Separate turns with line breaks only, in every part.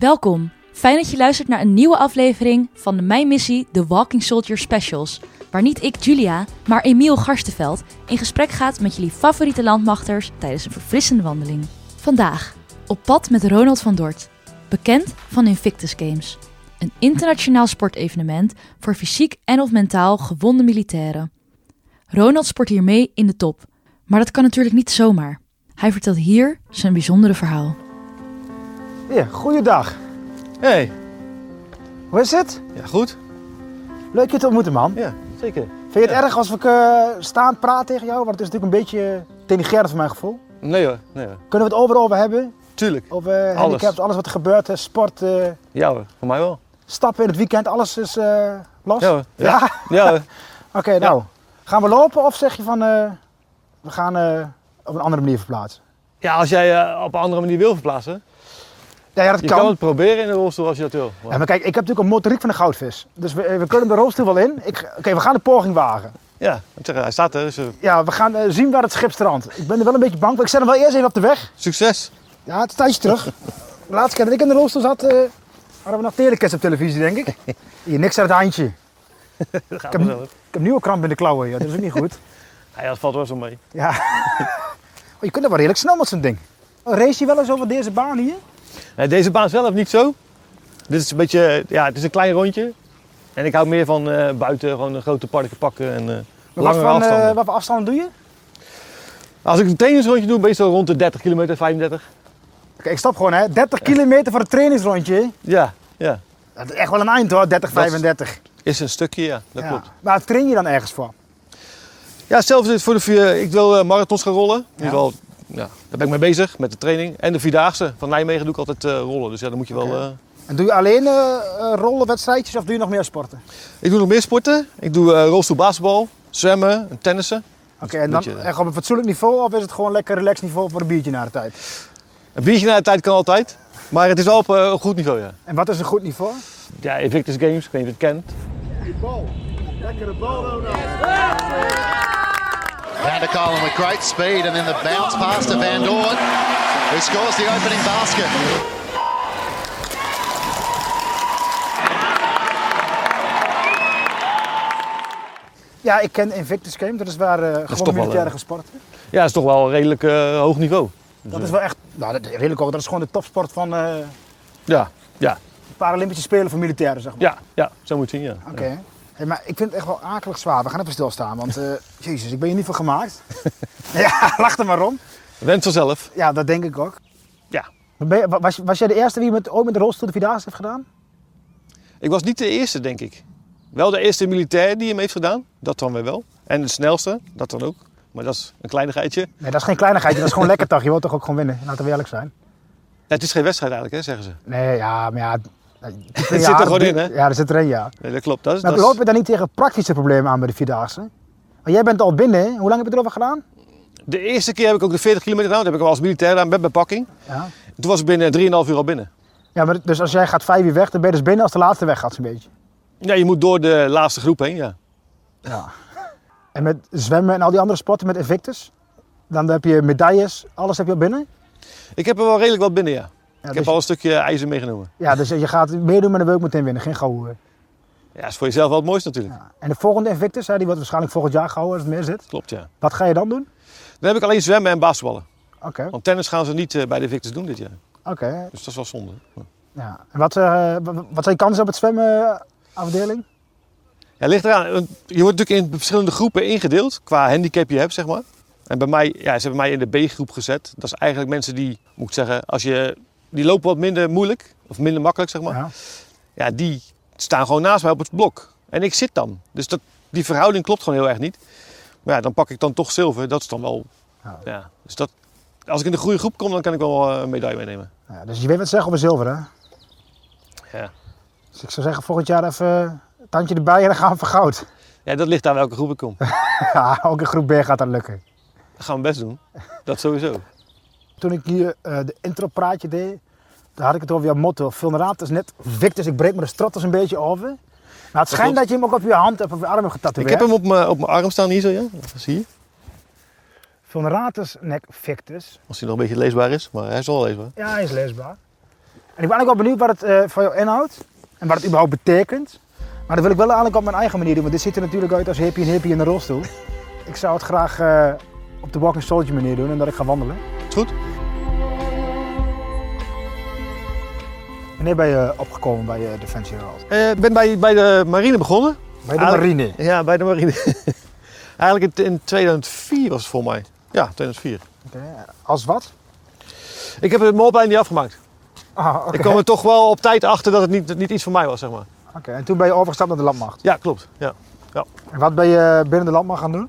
Welkom. Fijn dat je luistert naar een nieuwe aflevering van de Mijn Missie The Walking Soldier Specials. Waar niet ik, Julia, maar Emiel Garstenveld in gesprek gaat met jullie favoriete landmachters tijdens een verfrissende wandeling. Vandaag op pad met Ronald van Dort, bekend van Invictus Games. Een internationaal sportevenement voor fysiek en of mentaal gewonde militairen. Ronald sport hier mee in de top, maar dat kan natuurlijk niet zomaar. Hij vertelt hier zijn bijzondere verhaal.
Ja, goeiedag.
Hey,
Hoe is het?
ja goed.
Leuk je te ontmoeten, man.
Ja, zeker.
Vind je het erg als ik eh staan praat tegen jou? Want het is natuurlijk een beetje denigrerend voor mijn gevoel.
Nee hoor, nee hoor.
Kunnen we het overal over hebben?
Tuurlijk.
Over eh, handicaps, alles, wat er gebeurt, eh, sport, eh,
Ja hoor, voor mij wel.
stappen in het weekend, alles is eh, los?
Ja hoor.
Ja?
Ja hoor.
Oké, nou. Gaan we lopen of zeg je van, eh, we gaan eh, op een andere manier verplaatsen?
Ja, als jij eh, op een andere manier wil verplaatsen.
Ja, ja dat
Je
kan.
kan. het proberen in de rolstoel als je dat wil. Maar-
Ja, maar kijk, ik heb natuurlijk een motoriek van een goudvis. Dus we, eh, we kunnen de rolstoel wel in. Ik- Oké, we gaan de poging wagen.
Ja, ik zeg, hij staat er, dus eh,
Ja, we gaan eh, zien waar het schip strandt. Ik ben er wel een beetje bang voor. Ik zet hem wel eerst even op de weg.
succes.
Ja, het is tijdje terug. De laatste keer dat ik in de rolstoel zat, eh, hadden we nog telekets op televisie, denk ik. Hier, niks uit het handje. Ik
Dat gaat
heb-
vanzelf.
heb nieuwe kramp in de klauwen, joh. dat is ook niet goed.
Ja, dat valt wel zo mee.
Ja. Oh, je kunt er wel redelijk snel met zo'n ding. Race je wel eens over deze baan hier?
Nee, deze baan zelf niet zo. Dit is een beetje, eh, ja, het is een klein rondje. En ik hou meer van eh, buiten gewoon een grote parken pakken en eh
Maar Wat
langere
voor,
afstanden.
eh, wat voor afstanden doe je?
Als ik een trainingsrondje doe, ben je zo rond de 30 kilometer, 35.
Oké, ik stop gewoon hè. 30 kilometer voor het trainingsrondje.
Ja, ja.
Dat is echt wel een eind hoor, 30,
Dat is-
35.
Is een stukje, ja. Dat
Ja.
klopt.
Maar train je dan ergens voor?
Ja, zelf is het voor de vier. Ik wil eh, marathons gaan rollen. In ieder
Ja.
geval, ja, daar ben ik mee bezig met de training. En de vierdaagse van Nijmegen doe ik altijd eh, rollen. Dus ja, dan moet je wel.
Oké.
eh,
En doe je alleen rollen rollenwedstrijdjes of doe je nog meer sporten?
Ik doe nog meer sporten. Ik doe eh rolstoel basketbal, zwemmen, en tennissen.
Oké, en dan
Moet je-
echt op een fatsoenlijk niveau of is het gewoon lekker relaxed niveau voor een biertje na de tijd?
Een biertje na de tijd kan altijd. Maar het is wel op eh, een goed niveau, ja.
En wat is een goed niveau?
Ja, Invictus Games, ik weet niet of je het kent.
Van der Kolen with great speed and then the bounce pass to Van Dorn, who scores the opening basket.
Ja, ik ken Invictus Games, dat is waar eh
toch
gewoon
wel,
militairen
eh,
gesport. wordt.
Ja, het is toch wel een redelijk eh, hoog niveau.
Dat is wel echt, nou dat, redelijk ook, dat is gewoon de topsport van eh
Ja, ja,
Paralympische Spelen voor militairen, zeg maar.
ja, ja. Zo moet je het zien, ja.
Oké. Hey, maar ik vind het echt wel akelig zwaar. We gaan even stilstaan, want eh, jezus, ik ben hier niet voor gemaakt. ja, lach er maar om.
Went vanzelf.
Ja, dat denk ik ook.
Ja.
Maar ben je- wa- was, was jij de eerste die met, ooit met de rolstoel de Vierdaagse heeft gedaan?
Ik was niet de eerste, denk ik. Wel de eerste militair die hem heeft gedaan. Dat dan weer wel. En de snelste, dat dan ook. Maar dat is een kleinigheidje. Ja,
Nee, dat is geen kleinigheidje, dat is gewoon lekker toch. Je wilt toch ook gewoon winnen, laten we eerlijk zijn.
het is geen wedstrijd eigenlijk, hè, zeggen ze.
Nee, ja, maar ja... Het
zit er gewoon in, hè?
Ja, dat zit erin, ja.
Nee, dat klopt. Dat is,
Nou,
dat is-
lopen we daar niet tegen praktische problemen aan bij de Vierdaagse? Want jij bent al binnen, hè? hoe lang heb je erover gedaan?
De eerste keer heb ik ook de 40 kilometer gedaan. Dat heb ik al als militair gedaan met bepakking.
Ja.
Toen was ik binnen 3,5 uur al binnen.
ja, maar dus als jij gaat vijf uur weg, dan ben je dus binnen als de laatste weg gaat, zo'n beetje.
Ja, je moet door de laatste groep heen, ja.
En met zwemmen en al die andere sporten met Invictus, dan heb je medailles, alles heb je al binnen.
Ik heb er wel redelijk wat binnen, ja.
Ja, dus,
ik heb al een stukje ijzer meegenomen.
ja, dus je gaat meedoen, maar dan wil ik meteen winnen, geen gauw. hoor.
Ja, dat is voor jezelf wel het mooiste natuurlijk.
En de volgende Invictus, hè, die wordt waarschijnlijk volgend jaar gehouden als het meer zit.
Klopt, ja.
Wat ga je dan doen?
Dan heb ik alleen zwemmen en basketballen.
Oké, oké.
Want tennis gaan ze niet eh, bij de Victors doen dit jaar. Dus dat is wel zonde.
Ja. En wat, eh, wa- wa- wat zijn je kansen op het zwemmen eh, afdeling?
Ja, ligt eraan. want Je wordt natuurlijk in verschillende groepen ingedeeld qua handicap je hebt, zeg maar. En bij mij, ja, ze hebben mij in de B-groep gezet. Dat is eigenlijk mensen die, moet ik zeggen, als je, die lopen wat minder moeilijk of minder makkelijk, zeg maar. Ja.
Ja.
die staan gewoon naast mij op het blok. En ik zit dan. Dus dat, die verhouding klopt gewoon heel erg niet. Maar ja, dan pak ik dan toch zilver. Dat is dan wel.
Ja.
Ja. Dus dat, als ik in de goede groep kom, dan kan ik wel eh, een medaille meenemen.
Ja, dus je weet wat zeggen over zilver, hè?
Ja.
Dus ik zou zeggen, volgend jaar even een tandje erbij en dan gaan we voor goud.
ja, dat ligt aan welke groep ik kom. Dat
Ja, ook in groep B gaat dat lukken.
gaan we best doen. Dat sowieso.
Toen ik hier eh, de intro-praatje deed, daar had ik het over jouw motto. Vulneraat is net Victus, ik breek me de stratters een beetje over. Nou, het schijnt
klopt.
dat je hem ook op je hand hebt of je arm hebt
Ik
getatoeëerd.
heb hem op mijn op mijn arm staan hier zo, ja. Zie je?
Vulneratus nec victus. dus
Als hij nog een beetje leesbaar is, maar hij is wel leesbaar.
Ja, hij is leesbaar. En ik ben eigenlijk wel benieuwd wat het eh, voor jou inhoudt en wat het überhaupt betekent. Maar dat wil ik wel eigenlijk op mijn eigen manier doen, want dit ziet er natuurlijk uit als hippie en hippie in de rolstoel. Ik zou het graag eh, op de walking soldier manier doen en dat ik ga wandelen.
Is goed?
Wanneer ben je opgekomen bij eh, Defensie Herald?
Eh, Ik ben bij, bij de marine begonnen.
Bij de
Ah,
marine.
Ja, bij de marine. Eigenlijk in, in 2004 was het volgens mij. Ja, 2004.
Oké, Als wat?
Ik heb mijn opleiding niet afgemaakt.
Ah, oké.
Ik kwam er toch wel op tijd achter dat het niet, niet iets voor mij was, zeg maar.
Oké, En toen ben je overgestapt naar de landmacht.
Ja, klopt. Ja.
En wat ben je binnen de landmacht gaan doen?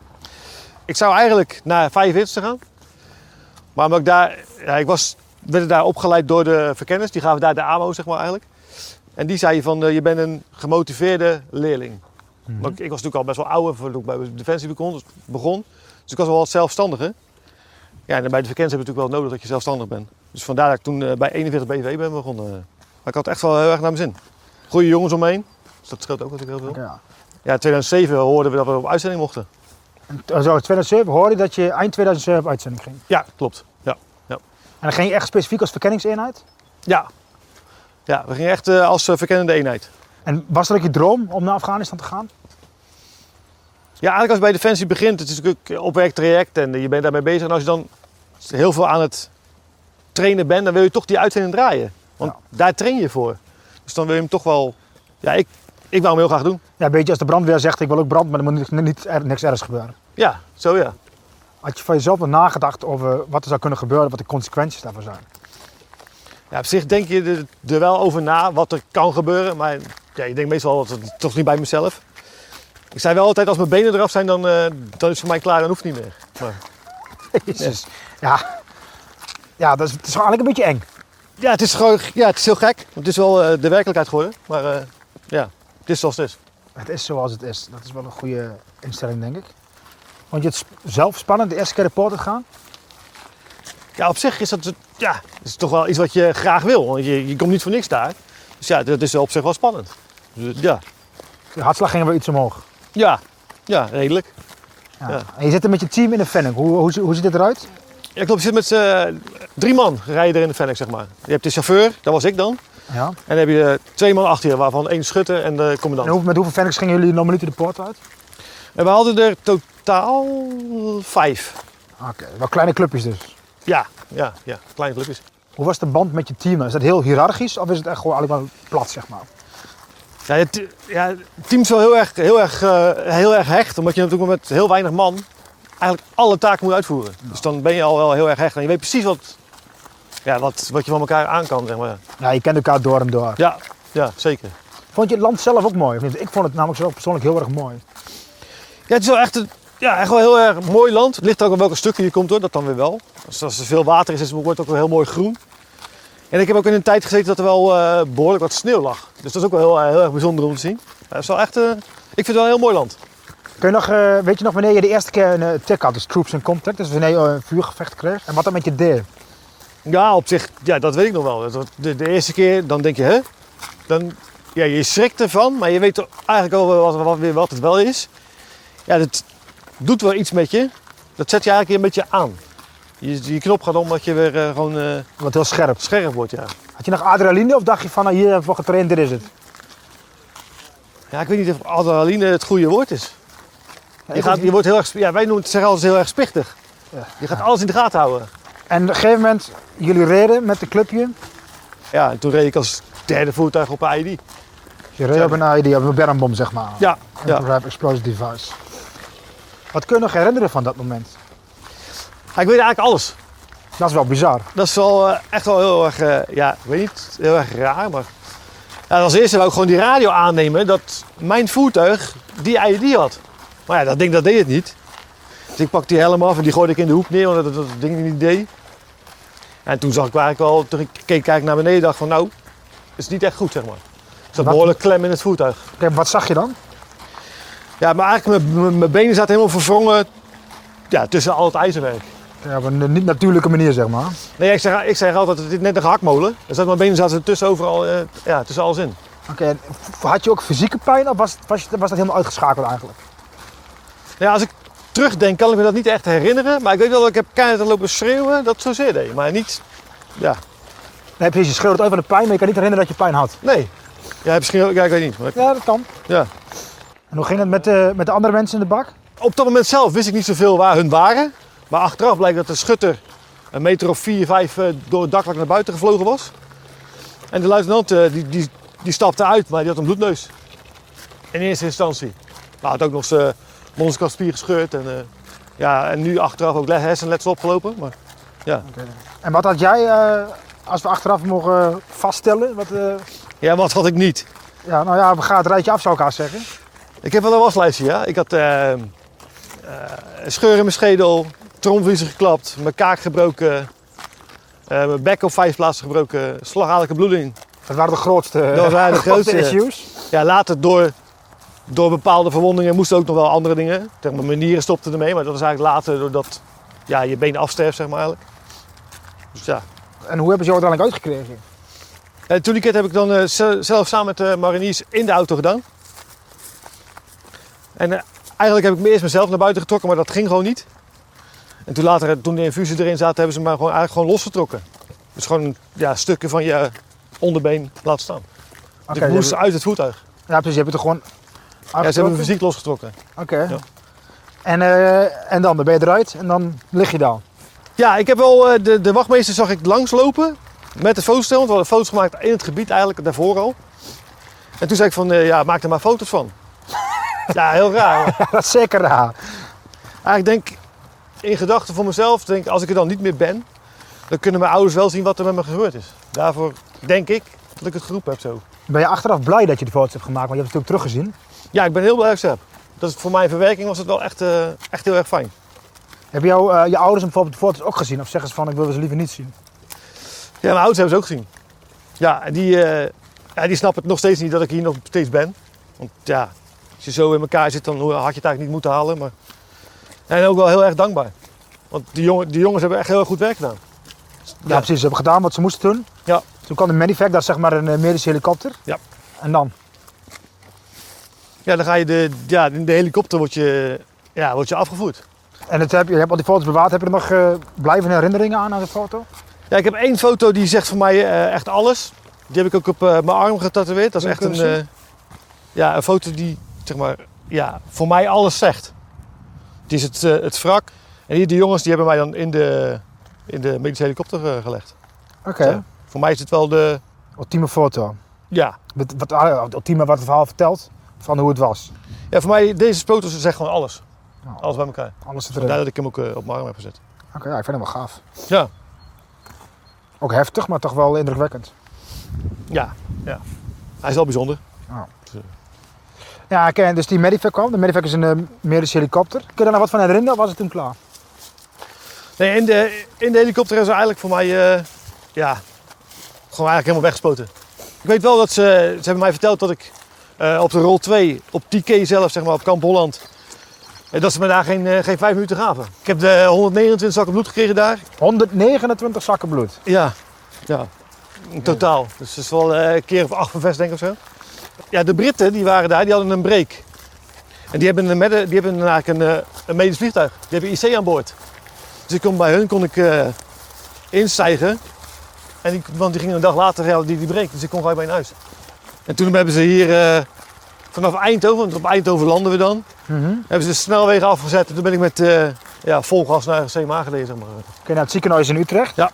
Ik zou eigenlijk naar 45 gaan. Maar omdat ik daar, ja, ik was, werd daar opgeleid door de verkenners. Die gaven daar de AMO, zeg maar eigenlijk. En die zei van, eh, je bent een gemotiveerde leerling. Want ik, ik was natuurlijk al best wel oud voordat ik bij Defensie begon. Dus, begon. dus ik was wel wat zelfstandiger. Ja, en bij de verkenners heb je natuurlijk wel nodig dat je zelfstandig bent. Dus vandaar dat ik toen eh, bij 41 BV ben begonnen. Maar ik had echt wel heel erg naar mijn zin. Goede jongens omheen. Dus dat scheelt ook natuurlijk heel veel.
Oké, ja.
Ja, in 2007 hoorden we dat we op uitzending mochten.
En t- Zo, in 2007 hoorde ik dat je eind 2007 op uitzending ging.
Ja, klopt. Ja,
En dan ging je echt specifiek als verkenningseenheid?
ja. ja we gingen echt eh, als eh, verkennende eenheid.
En was dat ook je droom om naar Afghanistan te gaan?
Ja, eigenlijk als het bij Defensie begint, het is natuurlijk eh, een opwerktraject en je bent daarmee bezig. En als je dan heel veel aan het trainen bent, dan wil je toch die uitzending draaien. Want daar train je voor. Dus dan wil je hem toch wel... Ja, ik, ik wou hem heel graag doen.
Ja, een beetje als de brandweer zegt, ik wil ook brand, maar er moet ni- niet, er- niks ergs gebeuren.
Ja, zo ja.
Had je van jezelf nog nagedacht over wat er zou kunnen gebeuren, wat de consequenties daarvan zijn?
ja op zich denk je er, er wel over na wat er kan gebeuren. Maar ja, ik denk meestal dat het toch niet bij mezelf. Ik zei wel altijd, als mijn benen eraf zijn, dan, eh, dan is het voor mij klaar. Dan hoeft het niet meer. Maar...
Jezus. Ja, ja dat is, het is eigenlijk een beetje eng.
Ja, het is gewoon, ja, het is heel gek. Het is wel eh, de werkelijkheid geworden. Maar eh, ja, het is zoals het is.
Het is zoals het is. Dat is wel een goede instelling, denk ik. Vond je het sp- zelf spannend de eerste keer de poort te gaan?
Ja, op zich is dat, ja, is toch wel iets wat je graag wil. Want je, je komt niet voor niks daar. Dus ja, dat is op zich wel spannend. Dus, eh, ja.
De hartslag ging wel iets omhoog.
Ja. ja, redelijk.
Ja.
Ja.
En je zit er met je team in de Fennec. Hoe, hoe, zie- hoe ziet het eruit?
Ja, klopt, je zit met eh, drie man rijden er in de Fennec, zeg maar. Je hebt de chauffeur, dat was ik dan.
Ja.
En dan heb je eh, twee man achter je, waarvan één schutter en de
En
commandant.
hoe, met hoeveel Fennecs gingen jullie normaliter de poort uit?
En we hadden er totaal vijf.
Oké, wel kleine clubjes dus.
Ja, ja, ja. Kleine clubjes.
Hoe was de band met je team? Is dat heel hiërarchisch of is het echt gewoon alleen maar plat, zeg maar?
Ja, het, ja, het team is wel heel erg, heel, erg, eh, heel erg hecht, omdat je natuurlijk met heel weinig man eigenlijk alle taken moet uitvoeren. Dus dan ben je al wel heel erg hecht en je weet precies wat, ja, wat, wat je van elkaar aan kan. Zeg maar.
Ja, je kent elkaar door en door.
ja, ja, zeker.
Vond je het land zelf ook mooi of niet? Ik vond het namelijk zelf persoonlijk heel erg mooi.
Ja, het is wel echt, een, ja, echt wel heel erg mooi land. Het ligt ook aan welke stukken je komt hoor, dat dan weer wel. Dus als er veel water is, is het- wordt het ook wel heel mooi groen. En ik heb ook in een tijd gezeten dat er wel eh, behoorlijk wat sneeuw lag. Dus dat is ook wel heel, eh, heel erg bijzonder om te zien. Ja, het is wel echt, eh, ik vind het wel een heel mooi land.
Kun je nog, eh, weet je nog wanneer je de eerste keer een eh, tik had, dus troops in contact, dus wanneer je eh, een vuurgevecht kreeg? En wat dat met je deed?
Ja, op zich, ja, dat weet ik nog wel. Dat- De, de eerste keer, dan denk je, hè? Dan, ja, je schrikt ervan, maar je weet toch eigenlijk al wel wat, wat, weer wat het wel is. Ja, dat doet wel iets met je. Dat zet je eigenlijk een beetje aan. Je, je knop gaat om dat je weer eh, gewoon eh,
Wat heel scherp.
scherp wordt, ja.
Had je nog adrenaline of dacht je van, nou, hier hebben we getraind, dit is het?
Ja, ik weet niet of adrenaline het goede woord is. Je,
ik
gaat,
ook
je wordt heel erg, sp- ja, wij noemen het zeggen altijd heel erg spichtig. Je gaat alles in de gaten houden.
En op een gegeven moment, jullie reden met de clubje.
Ja, en toen reed ik als derde voertuig op een ID.
Je reed op een ID, op een bermbom, zeg maar.
Ja,
Een
ja.
Rapid Explosive Device. Wat kun je nog herinneren van dat moment?
Ja, Ik weet eigenlijk alles.
Dat is wel bizar.
Dat is wel eh, echt wel heel erg, eh, ja, ik weet niet, heel erg raar, maar... Ja, als eerste wou ik gewoon die radio aannemen dat mijn voertuig die ID had. Maar ja, dat ding dat deed het niet. Dus ik pakte die helm af en die gooide ik in de hoek neer, want dat, dat ding niet deed. En toen zag ik eigenlijk wel, toen ik keek eigenlijk naar beneden, dacht van nou, het is niet echt goed, zeg maar. Er zat
Wat-
behoorlijk klem in het voertuig.
Kijk, wat zag je dan?
Ja, maar eigenlijk, mijn- mijn mijn benen zaten helemaal verwrongen ja, tussen al het ijzerwerk.
Ja, op een niet natuurlijke manier, zeg maar.
Nee, ik zeg, ik zeg altijd, het is net een gehaktmolen. Er zaten mijn benen zaten tussen overal, eh, ja, tussen alles in.
Oké, en f- had je ook fysieke pijn of was, was, je- was dat helemaal uitgeschakeld eigenlijk?
Nou Ja, als ik terugdenk kan ik me dat niet echt herinneren. Maar ik weet wel dat ik heb keihard lopen schreeuwen dat het zozeer deed. Maar niet, ja.
Nee, precies. Je schreeuwt het uit van de pijn, maar je kan niet herinneren dat je pijn had.
Nee. Ja, misschien, ja, ik weet niet. maar-
Ja, dat kan.
ja.
En hoe ging het met de, met de andere mensen in de bak?
Op dat moment zelf wist ik niet zoveel waar hun waren. Maar achteraf blijkt dat de schutter een meter of vier, vijf eh, door het daklak naar buiten gevlogen was. En de luitenant eh, die, die, die stapte uit, maar die had een bloedneus. In eerste instantie. Maar had ook nog zijn eh, monsterkastspier gescheurd. En, eh, ja, en nu achteraf ook le- hersenletsel opgelopen. Maar
En wat had jij, eh, als we achteraf mogen vaststellen? Wat, eh,
ja, wat had ik niet?
ja, nou ja, we gaan het rijtje af, zou ik haast zeggen.
Ik heb wel een waslijstje, ja. Ik had eh, eh, scheuren in mijn schedel, tromvliezen geklapt, mijn kaak gebroken, eh, mijn bek op vijf plaatsen gebroken, slagadelijke bloeding.
Dat waren de grootste,
Dat waren de grootste.
issues.
Ja, later door, door bepaalde verwondingen moesten ook nog wel andere dingen. Zeg maar, mijn nieren stopten ermee, maar dat is eigenlijk later doordat ja, je been afsterft, zeg maar eigenlijk. Dus ja.
En hoe hebben ze jou uiteindelijk uitgekregen?
En toen die keer heb ik dan eh, ze- zelf samen met de mariniers in de auto gedaan. En eh, eigenlijk heb ik me eerst mezelf naar buiten getrokken, maar dat ging gewoon niet. En toen later, eh, toen de infusie erin zaten, hebben ze me gewoon, eigenlijk gewoon losgetrokken. Dus gewoon ja, stukken van je onderbeen laten staan. Dus
Oké, dus-
ik
je
moest
hebt-
uit het voertuig.
Ja, precies. Je hebt het er gewoon
Ja, ze hebben me
afgetrokken?
fysiek losgetrokken.
Oké.
Ja.
En, eh, en dan, dan ben je eruit en dan lig je dan.
Ja, ik heb wel, eh, de, de wachtmeester zag ik langslopen met de fotostel. Want we hadden foto's gemaakt in het gebied eigenlijk, daarvoor al. En toen zei ik van, eh, ja, maak er maar foto's van. ja, heel raar.
dat is zeker raar.
Eigenlijk denk Ah, ik in gedachten voor mezelf, denk ik, als ik er dan niet meer ben, dan kunnen mijn ouders wel zien wat er met me gebeurd is. Daarvoor denk ik dat ik het geroepen heb zo.
Ben je achteraf blij dat je die foto's hebt gemaakt? Want je hebt het natuurlijk teruggezien.
Ja, ik ben heel blij dat ik ze heb. Dat is, voor mijn verwerking was het wel echt, eh, echt heel erg fijn.
Hebben jou, eh, je ouders bijvoorbeeld de foto's ook gezien? Of zeggen ze van, ik wil ze liever niet zien?
Ja, mijn ouders hebben ze ook gezien. Ja, en die, eh, ja, die snappen het nog steeds niet dat ik hier nog steeds ben. Want ja, als je zo in elkaar zit, dan had je het eigenlijk niet moeten halen. Maar... En ook wel heel erg dankbaar. Want die, jongen, die jongens hebben echt heel erg goed werk gedaan.
Ja, precies. Ze hebben gedaan wat ze moesten doen.
Ja.
Toen kwam de Medivac, dat is zeg maar een eh, medische helikopter.
Ja.
En dan?
Ja, dan ga je de, ja, in de helikopter wordt je, ja, wordt je afgevoerd.
En het heb, je- je hebt al die foto's bewaard. Heb je er nog eh blijvende herinneringen aan aan de foto?
Ja, ik heb één foto die zegt voor mij eh, echt alles. Die heb ik ook op eh, mijn arm getatoeëerd. Dat is
Wil
echt
ik hem
een, eh, ja, een foto die zeg maar, ja, voor mij alles zegt. Die is het, eh, het wrak. En hier de jongens die hebben mij dan in de, in de medische helikopter eh, gelegd.
Oké.
Ja. Voor mij is het wel de...
Ultieme foto.
Ja.
Wat, wat, ah, het ultieme wat het verhaal vertelt van hoe het was.
ja, voor mij deze foto's zeggen gewoon alles. Alles bij elkaar.
Alles zit erin. Oké,
Vandaar dat ik hem ook eh, op mijn arm heb gezet.
ja, ik vind hem wel gaaf.
Ja.
Ook heftig, maar toch wel indrukwekkend.
Ja. ja. Hij is wel bijzonder.
Ja, oké, dus die Medivac kwam. De Medivac is een eh, medische helikopter. Kun je daar nog wat van herinneren of was het toen klaar?
Nee, in de, in de helikopter hebben ze eigenlijk voor mij, eh, ja, gewoon eigenlijk helemaal weggespoten. Ik weet wel dat ze, ze hebben mij verteld dat ik eh, op de rol 2, op TK zelf, zeg maar, op Kamp Holland, eh, dat ze me daar geen, eh, geen vijf minuten gaven. Ik heb de 129 zakken bloed gekregen daar.
129 zakken bloed.
Ja, ja, in totaal. Dus dat is wel eh, een keer of acht vervest, denk ik of zo. Ja, de Britten die waren daar, die hadden een break. En die hebben, een medde- die hebben eigenlijk een, eh, een medisch vliegtuig. Die hebben IC aan boord. Dus ik kon, bij hun kon ik eh, instijgen. En die, want die gingen een dag later ja, die, die break. Dus ik kon gelijk bij hun huis. En toen hebben ze hier eh, vanaf Eindhoven, want op Eindhoven landen we dan.
Mhm.
Hebben ze de snelwegen afgezet. En toen ben ik met eh, ja, vol gas naar CMA gereden. Zeg maar.
Oké, naar het ziekenhuis in Utrecht.
Ja.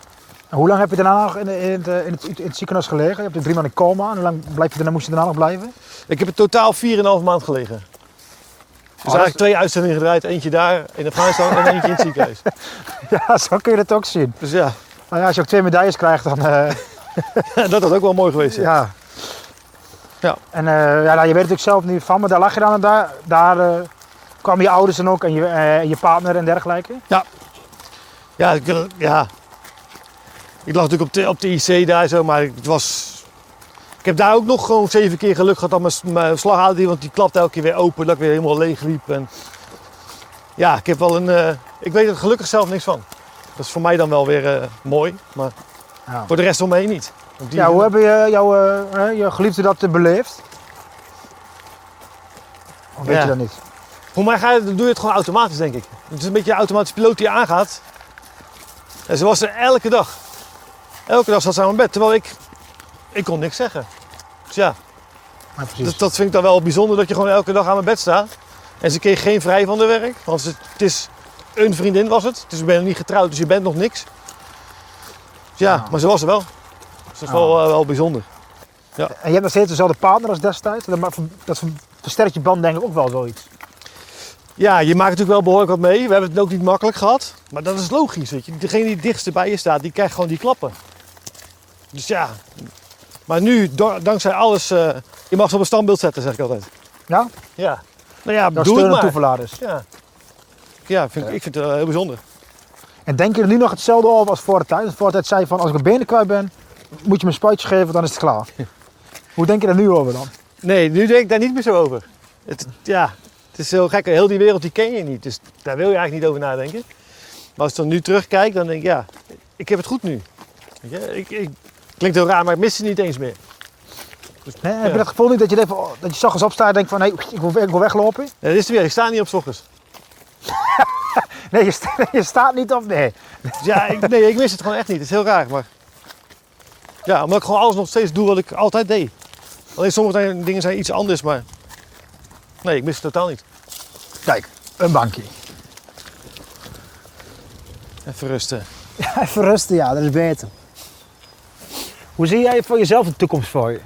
En hoe lang heb je daarna nog in, in, het, eh, in, het, in het ziekenhuis gelegen? Je hebt er drie maanden in coma. En hoe lang blijf je daarna, moest je daarna nog blijven?
Ik heb in totaal 4,5 maand gelegen. Dus
Oh, dat is-
eigenlijk twee uitzendingen gedraaid. Eentje daar in Afghanistan en eentje in het ziekenhuis.
Ja, zo kun je dat ook zien.
Dus ja,
Nou ja, als je ook twee medailles krijgt, dan... eh,
dat had ook wel mooi geweest. Ja.
ja.
Ja.
En eh, ja, nou, je weet het natuurlijk zelf niet van, maar daar lag je dan en daar, daar eh, kwamen je ouders dan ook en je, eh, je partner en dergelijke.
Ja, ik, ja. ik lag natuurlijk op de, op de IC daar zo, maar het was... Ik heb daar ook nog gewoon zeven keer geluk gehad dat mijn, mijn slagader, want die klapte elke keer weer open, dat ik weer helemaal leeg liep. En... Ja, ik heb wel een... eh, ik weet er gelukkig zelf niks van. Dat is voor mij dan wel weer eh, mooi, maar
Ja.
voor de rest om me heen niet. Want die-
Ja, hoe hebben je, jouw eh, eh, je geliefde dat eh, beleefd? Of weet
Ja.
je dat niet?
Voor mij ga je, doe je het gewoon automatisch, denk ik. Het is een beetje een automatische piloot die je aangaat. En ze was er elke dag. Elke dag zat ze aan mijn bed, terwijl ik, ik kon niks zeggen. Dus ja,
Ja, precies.
dat, dat vind ik dan wel bijzonder dat je gewoon elke dag aan mijn bed staat. En ze kreeg geen vrij van de werk, want ze- het is een vriendin was het. Dus ik ben nog niet getrouwd, dus je bent nog niks. Dus ja,
Ja.
maar ze was er wel. Dus dat is
Ja.
wel, eh, wel bijzonder.
En je hebt nog steeds dezelfde partner als destijds. Dat, maakt- dat versterkt je band denk ik ook wel zoiets.
Ja, je maakt natuurlijk wel behoorlijk wat mee. We hebben het ook niet makkelijk gehad. Maar dat is logisch, weet je. Degene die het dichtst bij je staat, die krijgt gewoon die klappen. Dus ja. Maar nu, do- dankzij alles, eh, je mag ze op een standbeeld zetten, zeg ik altijd.
Ja?
Ja. Nou ja,
Dat
doe het
steun en
maar.
toeverlaat is.
Ja, ja, vind, ik- ik vind het wel heel bijzonder.
En denk je er nu nog hetzelfde over als voor de tijd? Voor de tijd zei je van als ik mijn benen kwijt ben, moet je me een spuitje geven, dan is het klaar. Hoe denk je er nu over dan?
Nee, nu denk ik daar niet meer zo over. Het, ja, het is heel gek. Heel die wereld die ken je niet. Dus daar wil je eigenlijk niet over nadenken. Maar als ik dan nu terugkijk, dan denk ik, ja, ik heb het goed nu. Weet je, ik, ik, klinkt heel raar, maar ik mis het niet eens meer.
Nee, Heb je dat gevoel niet dat je, denkt van, oh, dat je s'ochtends opstaat en denkt van nee, ik wil, ik wil weglopen?
Nee, dat is het weer. Ik sta niet op 's ochtends.
Nee, je, sta- je staat niet op. Nee.
Dus ja, ik, nee, ik mis het gewoon echt niet. Het is heel raar, maar... Ja, omdat ik gewoon alles nog steeds doe wat ik altijd deed. Alleen sommige dingen- dingen zijn iets anders, maar... Nee, ik mis het totaal niet.
Kijk, een bankje.
Even rusten.
Even rusten, ja, dat is beter. Hoe zie jij voor jezelf de toekomst voor je?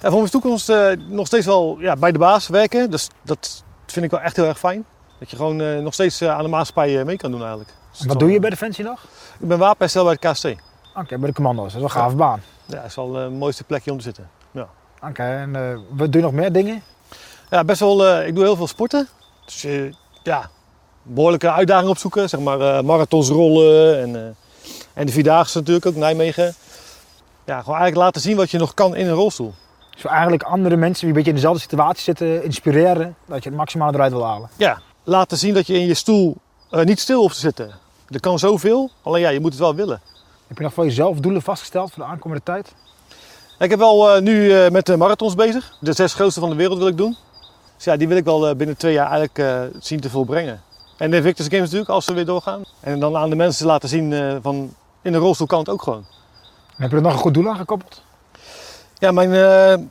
Ja, voor mijn toekomst eh, nog steeds wel ja, bij de baas werken. Dus dat vind ik wel echt heel erg fijn. Dat je gewoon eh, nog steeds eh, aan de maatschappij eh, mee kan doen eigenlijk. Dus dat is
Wat
wel-
doe je bij Defensie nog?
Ik ben wapenherstel bij de KST.
Oké, bij de commando's. Dat is wel een gave baan.
Ja, dat is wel eh, het mooiste plekje om te zitten.
Oké, en eh, wat doe je nog meer dingen?
Ja, best wel, eh, ik doe heel veel sporten. Dus eh, ja, behoorlijke uitdagingen opzoeken. Zeg maar eh, marathons rollen en, eh, en de Vierdaagse natuurlijk ook, Nijmegen. Ja, gewoon eigenlijk laten zien wat je nog kan in een rolstoel.
Zo Dus eigenlijk andere mensen die een beetje in dezelfde situatie zitten, inspireren dat je het maximale eruit wil halen.
ja, laten zien dat je in je stoel eh, niet stil hoeft te zitten. Er kan zoveel, alleen ja, je moet het wel willen.
Heb je nog voor jezelf doelen vastgesteld voor de aankomende tijd?
Ik heb wel eh, nu eh, met de marathons bezig. De zes grootste van de wereld wil ik doen. Dus ja, die wil ik wel eh, binnen twee jaar eigenlijk eh, zien te volbrengen. En de Invictus Games natuurlijk, als ze weer doorgaan. En dan aan de mensen laten zien eh, van in een rolstoel kan het ook gewoon.
En heb je er nog een goed doel aan gekoppeld?
Ja, mijn, eh,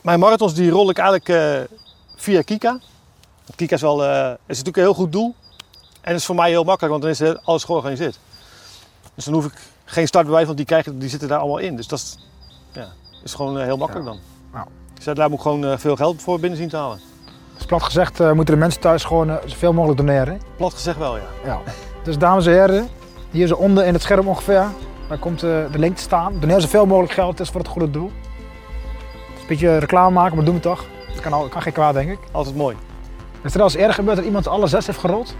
mijn marathons die rol ik eigenlijk eh, via Kika. Want Kika is, wel, eh, is natuurlijk een heel goed doel. En is voor mij heel makkelijk, want dan is heel- alles georganiseerd. Dus dan hoef ik geen startbewijs, want die, krijgen, die zitten daar allemaal in. Dus dat is, ja, is gewoon eh, heel makkelijk dan.
Nou.
Dus daar moet ik gewoon eh, veel geld voor binnen zien te halen.
Dus plat gezegd eh, moeten de mensen thuis gewoon eh, zoveel mogelijk doneren.
Plat gezegd wel, ja.
Ja. Dus dames en heren, hier zo onder in het scherm ongeveer, daar komt eh, de link te staan. Doneer zoveel mogelijk geld, het is voor het goede doel. Het is een beetje reclame maken, maar doen we toch. Dat kan, al, kan geen kwaad, denk ik.
Altijd mooi.
Is er al eens eerder gebeurd dat iemand alle zes heeft gerold?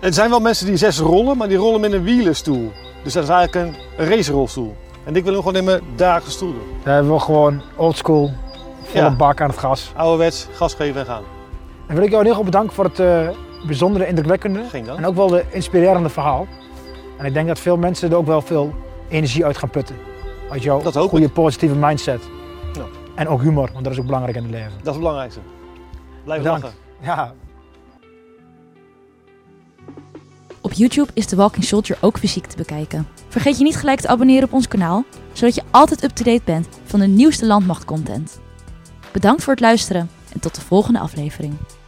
Er zijn wel mensen die zes rollen, maar die rollen met een wielenstoel. Dus dat is eigenlijk een racerolstoel. En ik wil hem gewoon in mijn dagelijkse stoel doen.
Daar hebben we gewoon oldschool, volle
Ja.
bak aan het gas.
Ouderwets, gas geven en gaan.
En wil ik jou heel erg bedanken voor het eh, bijzondere, indrukwekkende
Geen dank.
en ook wel de inspirerende verhaal. En ik denk dat veel mensen er ook wel veel energie uit gaan putten. Uit jouw
Dat hoop
goede positieve mindset.
Ja.
En ook humor, want dat is ook belangrijk in het leven.
Dat is het belangrijkste. Blijf
Bedankt.
lachen.
Ja,
Op YouTube is The Walking Soldier ook fysiek te bekijken. Vergeet je niet gelijk te abonneren op ons kanaal, zodat je altijd up-to-date bent van de nieuwste landmachtcontent. Bedankt voor het luisteren en tot de volgende aflevering.